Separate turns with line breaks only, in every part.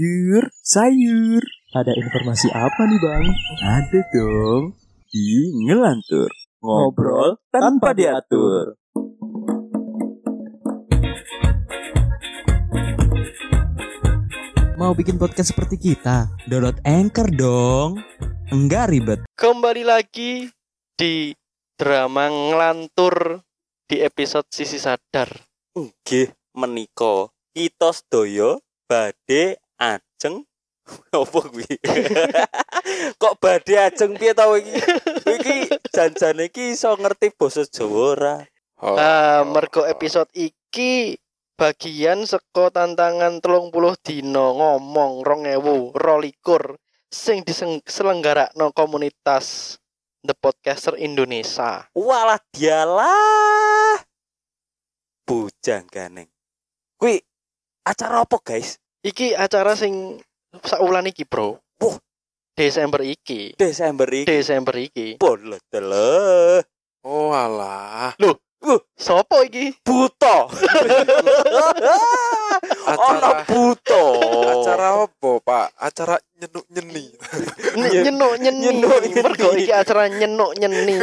Yur, sayur. Ada informasi apa nih bang?
Ada dong di Ngelantur Ngobrol tanpa diatur
Mau bikin podcast seperti kita? Download Anchor dong. Enggak ribet.
Kembali lagi di drama ngelantur di episode sisi sadar.
Nggih menika kita sedaya badhe ajeng opo kuwi Kok badhe ajeng piye ta iki iki janjane iki iso ngerti basa Jawa ora Oh,
Ah, mergo episode iki bagian seko tantangan telung puluh dino ngomong rong ewu rolikur sing diselenggarakno komunitas The Podcaster Indonesia.
walah dialah bujang ganeng kuwi acara apa guys
Iki acara sing saulan iki, Bro.
Wah.
Desember iki.
Desember iki
Desember iki.
boleh deleh
Oh alah,
Sopo iki?
buta. Ono
acara
buta.
acara apa pak? Acara nyenuk nyeni.
Nyen-
nyenuk nyeni
nyenuk-nyeni.
mergo iki acara nyenuk nyeni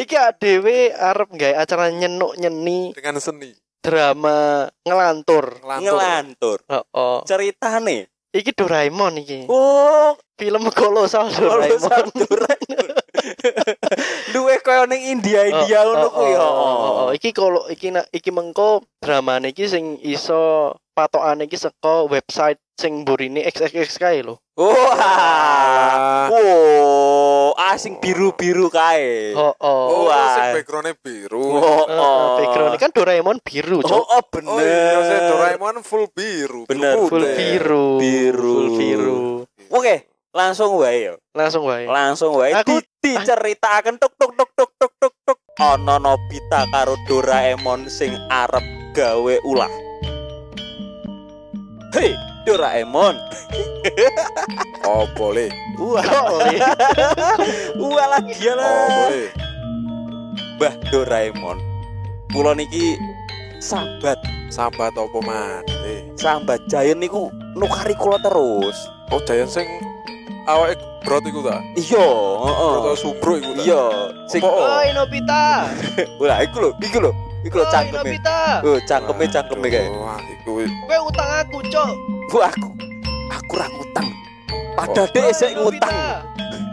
iki adewe arep nggawe acara nyenuk nyeni
dengan seni.
drama ngelantur
Ngelantur.
ngelantur.
oh, oh.
Ceritane.
iki Doraemon iki
Oh,
film kolosal Doraemon
Luwe koyo ning India India ngono kuwi
oh,
ya.
oh, oh. iki kolo iki na- iki mengko dramane iki sing iso patokane iki saka website sing burine XXX kae lho
Wah.
Ah.
Oh.
Wow, asing biru-biru kae.
oh oh
Oh,
Wah.
sing backgroundnya biru.
Oh,
Eh, eh, background kan Doraemon
Oh,
biru Cok.
oh
Oh iya, saya
bener.
Doraemon full biru.
Bener.
Biru
full
putih.
biru
Biru.
full biru
Oke, langsung wae yo.
langsung wae
langsung wae
Aku- Ah.
di, diceritakan tuk tuk tuk tuk tuk tuk tuk ana Nobita karo Doraemon sing arep gawe ulah Hei Doraemon
Oh boleh,
wah
boleh.
wah lah dia
oh
lah
boleh.
Mbah Doraemon kula niki sambat
Sahabat apa maneh?
sambat Giant niku nukari kula terus
Oh jayan sing awake brot iku ta?
iya
Brot
heeh
sumbro iku ta?
iya sing
Apa? Oh.
Oi Nobita.
wah iku lho iku lho iku lho
Oi,
cangkeme
Nobita.
Oh, cangkeme cangkeme kae
Wah, iku
Kowe utang aku, Cok.
Bu aku aku ra ngutang. Padahal dhek
Oi,
sik
Nobita.
ngutang.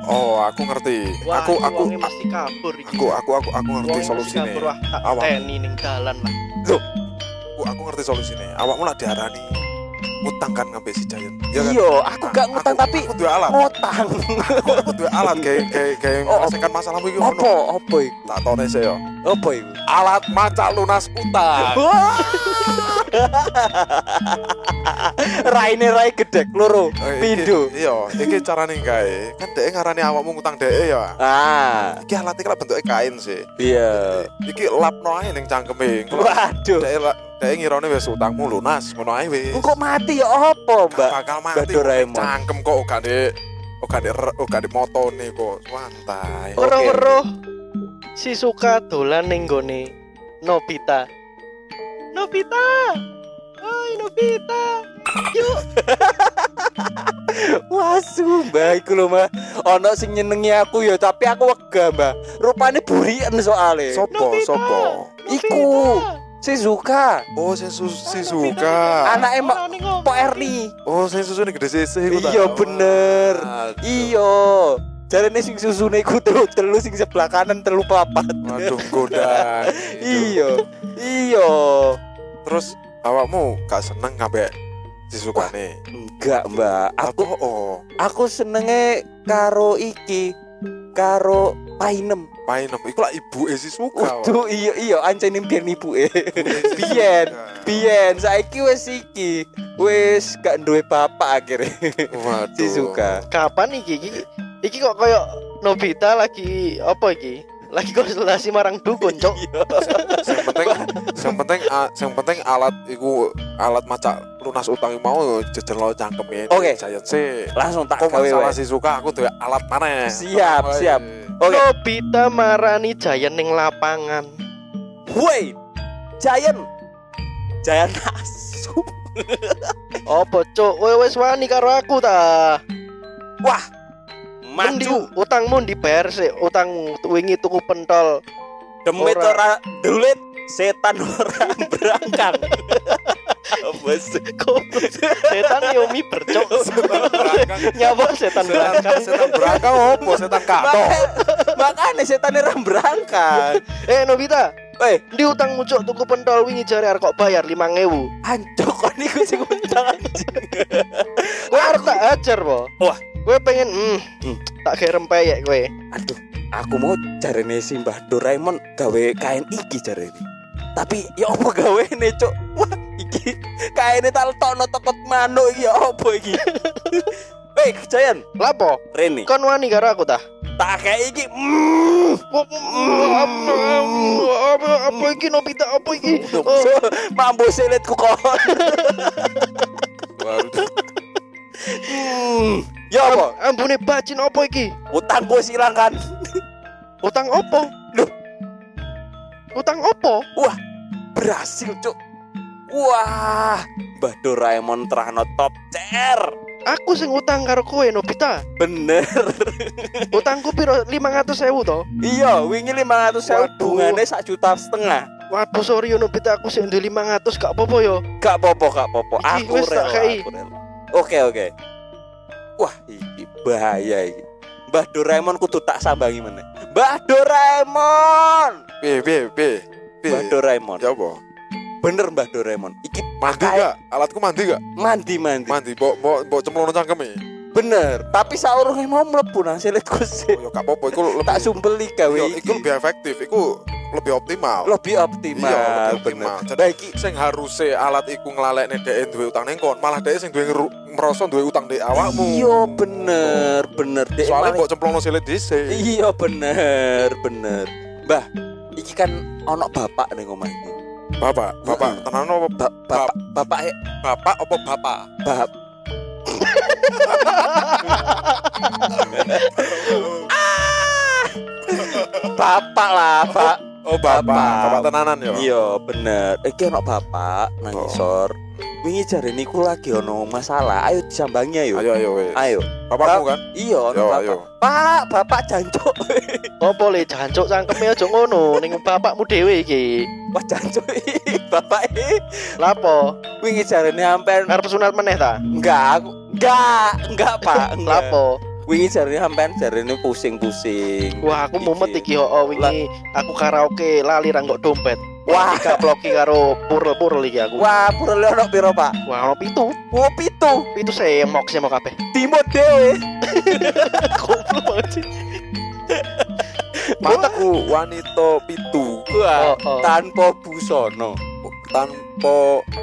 oh aku ngerti.
Wah,
Aku
ini
aku
wonge mesti kabur iki.
aku aku aku aku
Wonge
ngerti
mesti
solusine.
kabur, wah, tak
Awak.
teni ning dalan lah.
Aku aku ngerti solusine. Awakmu lah diarani utang kan ngambil si Jayan. Ya kan?
Iya, aku gak ngutang tapi
aku duwe alat.
ngutang.
aku duwe alat kayak kayak kayak
Oh,
menyelesaikan masalahmu iki ngono.
Apa apa iku?
Tak tone sih yo.
Apa iku?
Alat maca lunas utang. Oh,
Wah. Raine rai gedek loro.
Eh, iki-
Pindho.
Iya, iki carane kae. Kan dhek ngarani awakmu ngutang dhek ya.
Ah,
Iki alat iki lah bentuke kain sih.
iya.
Iki lapno ae ning cangkeme.
Waduh.
Dhek la- dhek ngirone wis utangmu lunas, ngono ae wis.
Engko mati ya apa, Mbak?
bakal
Mbak
mati.
Doraemon.
Cangkem kok uga dhek. Uga dhek re- uga dhek motone kok. Santai.
Oke.
Weruh-weruh. Si Suka dolan ning gone Nobita. Nobita. Oi Nobita.
Wasu, Mbak iku lho, Mbak. Ono sing nyenengi aku ya, tapi aku wegah, Mbak. Rupane burien soalnya
Sopo,
Nobita.
sopo.
Nobita.
Iku. Shizuka,
Oh, sing sus- si
Nobita.
suka.
Anak emak
Ora ning ngomong
Pak
iki.
Erni.
Oh, sing susune gede sisih iku ta?
Iya, bener.
Aduh.
Iya. Jarene sing susune iku telu, telu sing sebelah kanan telu papat.
Waduh, godaan. Gitu.
Iya. Iya.
Terus awakmu gak seneng ngambek disukane.
Enggak, Mbak. Aku
Apa? oh,
aku senenge karo iki. Karo Painem.
main apa? Iku lah ibuke si suka.
Udu iya iya ancenin biyen ibuke. biyen. eh. Biyen saiki wis iki. Wis gak duwe bapak akhirnya
Waduh.
Shizuka.
Kapan iki iki? Iki kok koyo Nobita lagi apa iki? Lagi konsultasi marang dukun, Cok.
Iya.
Yang penting yang penting a- yang penting alat iku alat maca lunas utang iku mau jejer lo cangkeme.
Oke.
Jayan sih.
Langsung tak
Kok
gawe.
masalah
weh.
si suka aku duwe alat maneh.
Siap,
Apa,
siap.
eh?
Oke.
Nobita marani Jayan ning lapangan.
Woi, Giant, Giant asu.
Opo cuk, kowe wis wani karo aku ta. Endi
maju
utangmu dibayar sik, utangmu wingi tuku pentol.
demit
Ora.
ora dulit setan ora berangkang bos
Goblok. setan yomi bercok.
Setan berangkang.
Nyawa setan
Setan,
belakang.
setan berangkang opo setan kato.
makanya setan ora berangkang
Eh Nobita,
weh
di utangmu cuk tuku pentol wingi jare arek kok bayar 5000.
ancok kon iku sing utang anjing.
Kowe arek tak ajar po.
Wah.
Kowe pengen hmm,
Hmm.
tak gerem peyek kowe.
aduh aku mau jarene si Mbah Doraemon gawe kain iki jarene tapi ya apa gawe nih cok wah iki kainnya tak letokno tekot manuk iki ya apa iki Weh, Jayan,
Lapo?
Rene,
Kon wani karo aku ta?
tak kayak iki. Mm.
Apa apa apa iki Nobita apa iki? Oh,
So, mambu selitku kon.
Waduh,
Mm. Ya apa?
am- Ambune bacin apa iki?
Utang gue silang kan.
Utang opo?
Loh.
Utang opo?
Berhasil, Cuk. Wah, Mbah Doraemon terahno top tier.
Aku sing utang karo kowe Nobita.
Bener.
Utangku piro 500.000 to?
Iya, wingi 500 sewa
Waduh.
bungane sak juta setengah.
Waduh sorry yo Nobita aku sing duwe 500 gak apa-apa yo.
Gak popo, gak popo.
Iki
Aku
wis tak
rela,
kei.
aku rela. Oke, oke. Wah, iki bahaya iki. Mbah Doraemon kudu tak sambangi meneh. Mbah Doraemon.
B B B B.
Mbah Doraemon.
Ya apa?
Bener Mbah Doraemon. Iki
Mandi
Pakai.
gak? Alatku mandi gak?
mandi-mandi.
Mandi, mbok mbok mbok e. cemplungno cangkeme.
Bener, tapi saurunge mau mlebu nang selitku sih.
Oh, ya gak apa-apa iku lebih
Tak sumpeli gawe
Ya,
Yo,
iki.
iku lebih efektif, iku lebih optimal.
lebih optimal.
Iya, lebih optimal.
bener.
Jadi-
Baiki
sing haruse alat iku ngelalekne dhek e duwe utang ning kon, malah dhek e sing duwe ngeru- merasa duwe utang dhek awakmu.
Iya bener, bener Dek.
Soalnya
Malah-
mbok cemplungno silit dhisik.
Iya bener, bener. Mbah, iki kan ono bapak ning omah iki.
Bapak, bapak,
Heeh.
tenan apa
Ba- bapak bapak e-
bapak apa bapak?
bapak bapak lah, Pak.
Oh, bapak,
Bapak.
bapak tenanan yo.
Iya bener. Iki ono bapak nang
Oh.
isor. Wingi jare niku lagi ono masalah. Ayo disambangnya yuk.
Ayo ayo weh.
iya. Ayo.
Bapakmu kan?
Iya ono
Yo
bapak.
ayo.
Pak, bapak jancuk.
Opo le jancuk cangkeme aja ngono ning bapakmu dhewe iki.
Wah jancuk. bapak eh.
Lapo?
wingi jarene sampean
Arep sunat meneh ta?
enggak aku enggak enggak Pak. Enggak.
Lapo?
Wingi jarene sampean jarene pusing-pusing.
Wah, aku mumet iki ho oh, wingi aku karaoke lali ra nggo dompet.
Wah.
Wah, dikaploki karo purl-purl iki aku.
Wah, purle ono piro, Pak?
Wah, ono pitu.
Oh, pitu.
Pitu semok semok kabeh.
Timut dhewe.
Goblok banget sih.
Mataku wanita pitu
Wah,
Oh, oh.
tanpa busana.
tanpa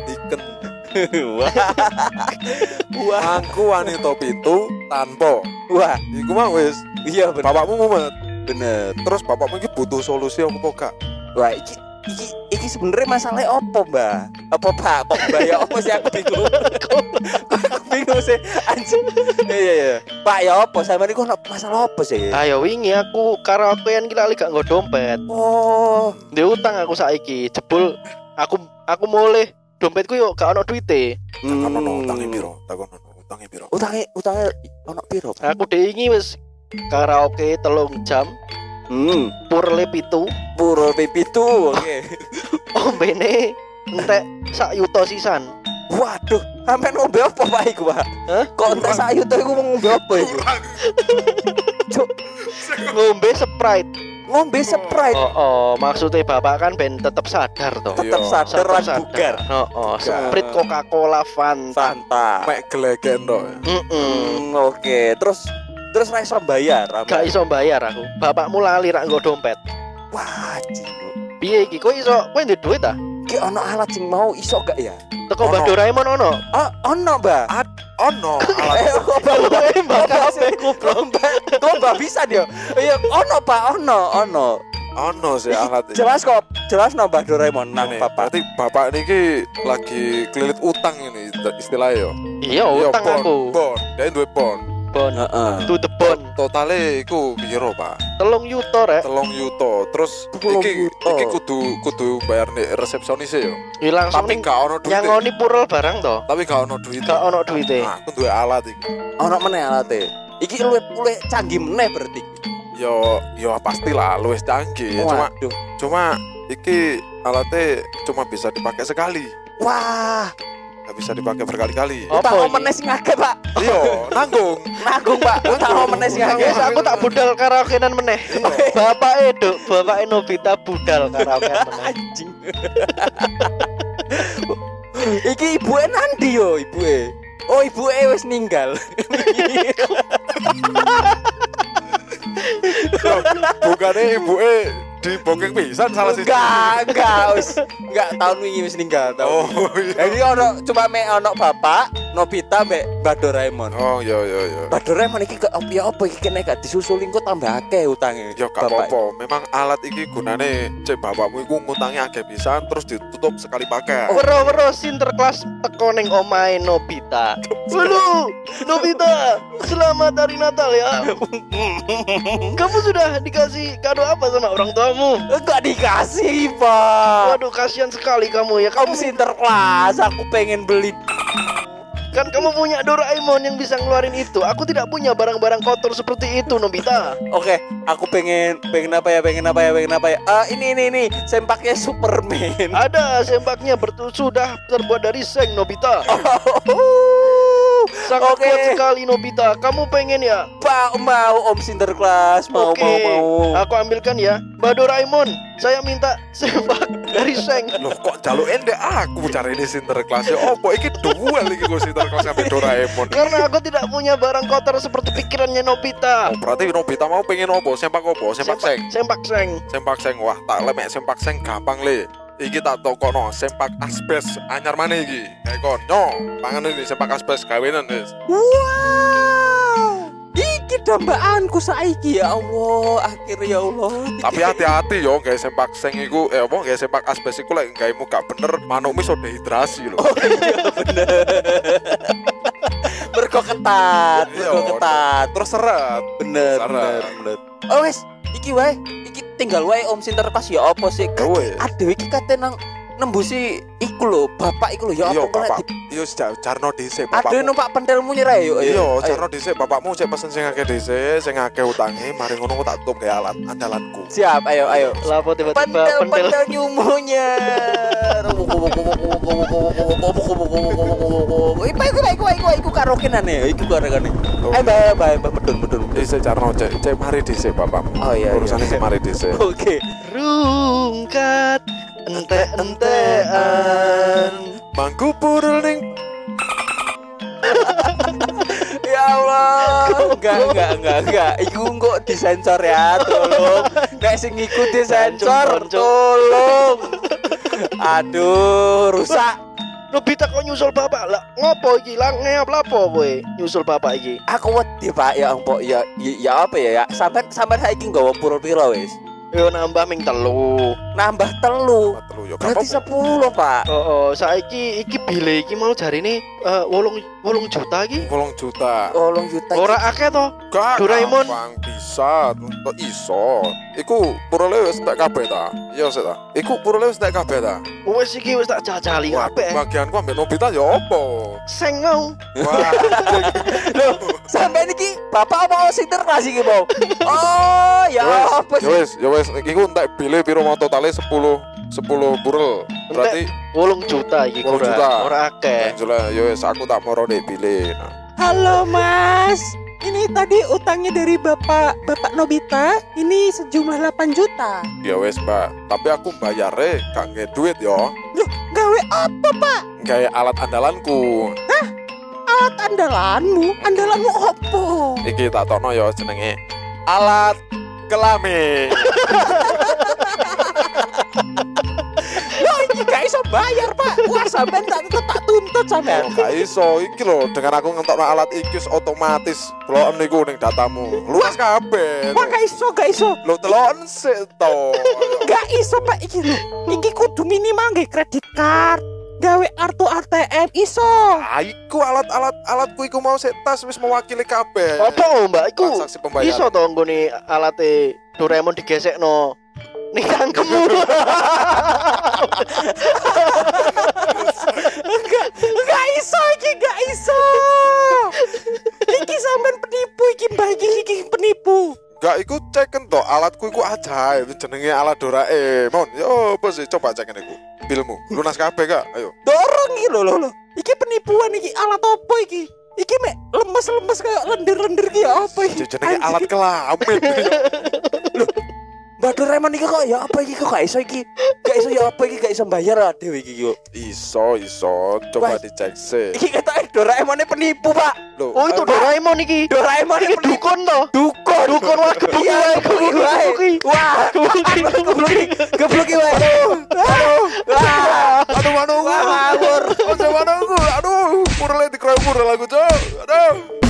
diken.
Wah. Wah.
Aku wanita pitu tanpa.
Wah,
Iku mah wis.
iya bener.
Bapakmu mumet.
bener.
Terus bapakmu iki butuh solusi apa gak?
Wah, iki iki iki sebenarnya masalahnya opo, Mbak? Apa Pak? Kok Mbak ya opo sih aku bingung. aku bingung sih anjing. Iya iya iya. Pak ya opo? Sama niku ono masalah opo sih?
Ayo Ah, ya wingi aku karaokean ki lali gak nggo dompet.
Oh,
Ndek utang aku saiki jebul aku aku mulih dompetku yo gak ono duite.
Hmm.
Takonono utange piro? Takonono utange piro?
Utange utange ono piro? Pak?
Aku dhewe iki wis karaoke telung jam,
Hmm,
purle pitu,
puro pipitu. Oke.
ombene entek sak yuto sisan.
Waduh, sampe ngombe apa Pak iku, Pak?
Hah?
Kok entek sayu to iku mau ngombe apa iku?
Ngombe Sprite.
Ngombe Sprite.
Oh, oh, maksudnya bapak kan ben tetep sadar toh.
Tetep
Tetep sadar
Tetep
lan bugar.
Oh, oh, Sprite Coca-Cola Fanta.
Fanta.
Mek gelegen tok.
Heeh.
Hmm, oke. Terus terus ra iso bayar. Amel.
Gak iso bayar aku. Bapakmu lali rak nggo dompet.
Wah, jigo.
Piye iki? Kowe iso kowe ndek duit ta?
Ki ono alat sing mau iso gak ya?
Teko Mbah
Ono.
Doraemon ono.
Oh, ono, Mbak.
Ono alat
Eh, kok Mbak
Mbah kabeh
Kok Mbak, kok Mbak bisa dia? Iya, ono, Pak, ono, ono.
ono sih alat iki.
Jelas kok, jelas no Mbak Doraemon nang
Ini,
Bapak.
Iya, Berarti bapak niki lagi kelilit utang ini istilah- istilahnya yo.
Iya,
Oh,
Iya,
utang
bon,
aku.
Bon, dia duwe bon.
bone
Heeh.
to the bone
Totale iku piro, Pak?
telung yuto rek
Telung yuto. Terus
Telung
iki
yuto.
iki kudu kudu bayar nih resepsionis ya.
ya langsung
Tapi
ning
gak ono duit.
nyangoni purel barang to
Tapi gak ono duit.
gak ono duite
Nah, aku duwe alat iki.
Ono meneh alate. Iki luwih luwih canggih meneh berarti.
Yo yo pastilah luwes canggih. Iya, Cuma
Waduh.
cuma iki alatnya cuma bisa dipakai sekali.
Wah,
Gak bisa dipakai berkali-kali.
Oh. Apa
tak
ini?
meneh sing akeh, Pak.
Iya, nanggung.
Nanggung, Pak. Tak meneh sing akeh.
Wes aku tak budal karaokean meneh. Bapak Edo, bapak Nobita budal karaokean meneh.
anjing. Iki ibuke nandi yo, ibuke. Oh, ibuke wis ninggal.
Bukannya ibuke di bokeh pisan salah sih.
Enggak, enggak wis. Enggak tahun wingi wis ninggal
Oh
tahun.
iya.
Jadi ono cuma me ono bapak, Nobita mbek Mbak Doraemon.
Oh iya iya iya.
Mbak Doraemon iki gak opo opo iki kene gak disusuli engko tambah akeh utange.
Ya gak apa-apa, memang alat iki gunane cek bapakmu iku ngutangi akeh pisan terus ditutup sekali pakai.
Oh. Wero-wero sinterklas teko ning omahe Nobita. Halo, Nobita. Selamat hari Natal ya. Kamu sudah dikasih kado apa sama orang tuamu?
Enggak Eh, dikasih, Pak.
Waduh, kasihan sekali kamu ya.
Kamu
Kamu
sinterklas, aku pengen beli.
kan kamu punya Doraemon yang bisa ngeluarin itu. Aku tidak punya barang-barang kotor seperti itu, Nobita.
Oke, aku pengen pengen apa ya? Pengen apa ya? Pengen apa ya? Ah, ini ini ini sempaknya Superman.
Ada sempaknya bertu sudah terbuat dari seng Nobita. Sangat
Oke.
kuat sekali Nobita. Kamu pengen ya?
Pak mau Om Sinterklas mau
Oke.
mau mau.
Aku ambilkan ya. Mbak Doraemon, saya minta sempak dari seng.
Loh kok jaluk endek aku cari ini sinterklasnya opo iki duel iki kok sinterklas sampe Doraemon.
Karena aku tidak punya barang kotor seperti pikirannya Nobita.
Oh, berarti Nobita mau pengen opo? Sempak opo? Sempak seng.
Sempak seng.
Sempak seng wah tak lemek sempak seng gampang le. Iki tak tokokno sempak asbes anyar mana iki? Kayak kon yo, pangan ini sempak asbes gawenan wis.
Wow. Iki dambaanku saiki ya Allah, akhir ya Allah.
Tapi hati-hati yo guys sempak seng iku eh apa guys sempak asbes iku lek gawe muka bener manukmu iso dehidrasi lho.
Oh iya bener. Mergo ketat,
Ya
Iya,
mergo ketat.
Terus seret.
Bener,
Sarah.
bener, bener. Oh wes, iki wae, iki tinggal wae Om Sinterklas ya apa sih?
Iya.
Kaki-
Kowe.
Aduh iki kate nang nembusi iku lho, bapak iku lho ya apa
Iya,
kok lek
bapak.
di-
Yo jarno dhisik
Aduh
bapakmu.
numpak pentilmu nyerah yuk.
Iya,
ayo.
jarno dhisik bapakmu cek pesen sing akeh dhisik, sing akeh utange mari ngono ku tak tutup gawe alat andalanku.
Siap, ayo ayo.
Lapo tiba-tiba
Pentil
pentil.
pentil nyumunya. Iku iku iku iku iku karaokean ya, iku karaokean.
Tuh.
Ayo ayo ayo medun medun. medun.
Dhisik jarno cek, cek mari dhisik bapakmu.
Oh iya. iya.
Urusane cek mari dhisik.
Oke.
Rungkat ente-entean.
Mangku purul ning
Ya Allah, enggak enggak enggak enggak. Iku kok disensor ya, tolong. Nek sing ngikuti sensor,
Jancuk, jancuk.
tolong. Aduh, rusak.
Nobita kok nyusul bapak lah. Ngopo iki lah ngeap lapo kowe nyusul bapak iki.
Aku wedi Pak ya ampok ya ya ya apa ya ya. Sampean sampean saiki nggawa pura pira wis.
Yo nambah ming telu.
Nambah telu.
telu yo.
Berarti
Apa-
10, Pak.
Oh, oh, saiki iki bile iki mau jarine eh wolung wolung juta iki.
Wolong juta.
Tolong juta.
Ora akeh to.
Gak
Doraemon.
gampang bisa untuk iso. Iku purule wis tak kabeh ta. Iya sik ta. Iku purule wis tak kabeh ta.
Wes iki wis tak jajali kabeh.
bagianku ambek Nobita ya opo?
Seng mau.
Wah,
Sampai niki Bapak mau sinterklas iki mau. Oh, ya apa
ya
sih?
wis, ya wis iku entek bile piro mau totale 10 10 burel. Berarti
Wolung juta iki
Wolung
kurang.
juta.
Ora
Eh.
akeh.
Angela ya wis aku tak morone bile. Nah,
Halo Mas, ini tadi utangnya dari Bapak Bapak Nobita, ini sejumlah 8 juta.
Ya wis, Mbak. Tapi aku bayare gak nge duit yo.
Gawe apa Pak?
Gawe alat andalanku.
Alat andalanmu, andalanmu opo?
Iki tak tokno ya jenenge alat kelamin.
Iki gak iso bayar Pak. Wah sampean tak tetep tak tuntut sampean.
Oh, gak iso iki lho dengan aku ngentokno alat iki wis otomatis bloken niku ning datamu. Luas kabeh.
Wah gak iso, gak iso.
Lho telon sik to.
Gak iso Pak iki lho. Iki kudu minimal nggih kredit card. gawe kartu ATM iso.
Ah, iku alat-alat alatku iku mau sik tas wis mewakili kabeh.
Apa mbak? Iku
Transaksi pembayaran.
iso to nggone alate Doraemon digesekno ning cangkemmu.
Gak iso iki, gak iso. Iki sampean penipu iki mbak iki, iki penipu.
Gak iku ceken to alatku iku ajaib jenenge alat Doraemon. Yo apa sih coba ceken iku. Bilmu lunas kabeh gak? Ayo.
Dorong iki lho lho lho. Iki penipuan iki alat opo iki? Iki mek lemes-lemes kayak lendir-lendir iki ya apa iki?
Jenenge alat kelamin.
Mbak Doraemon iki kok ya apa iki kok gak iso iki? Gak iso ya apa iki gak iso bayar ah dhewe iki yo.
Iso iso
Wah.
coba dicek sih.
Iki ketoke Doraemone penipu, Pak.
Loh,
Oh itu
ayo,
Doraemon iki.
Doraemon
Iki
penipu.
dukun to.
Dukun.
Dukun wah gebuk
Iya,
wae
gebuk
gebuk
wae.
wae.
Wah,
Gebuk wae.
geblok iki. Geblok iki wae. Wah,
Aduh manungku.
wah, ngawur.
Aduh manungku. Aduh, murle dikroyok murle lagu, Cok. Aduh.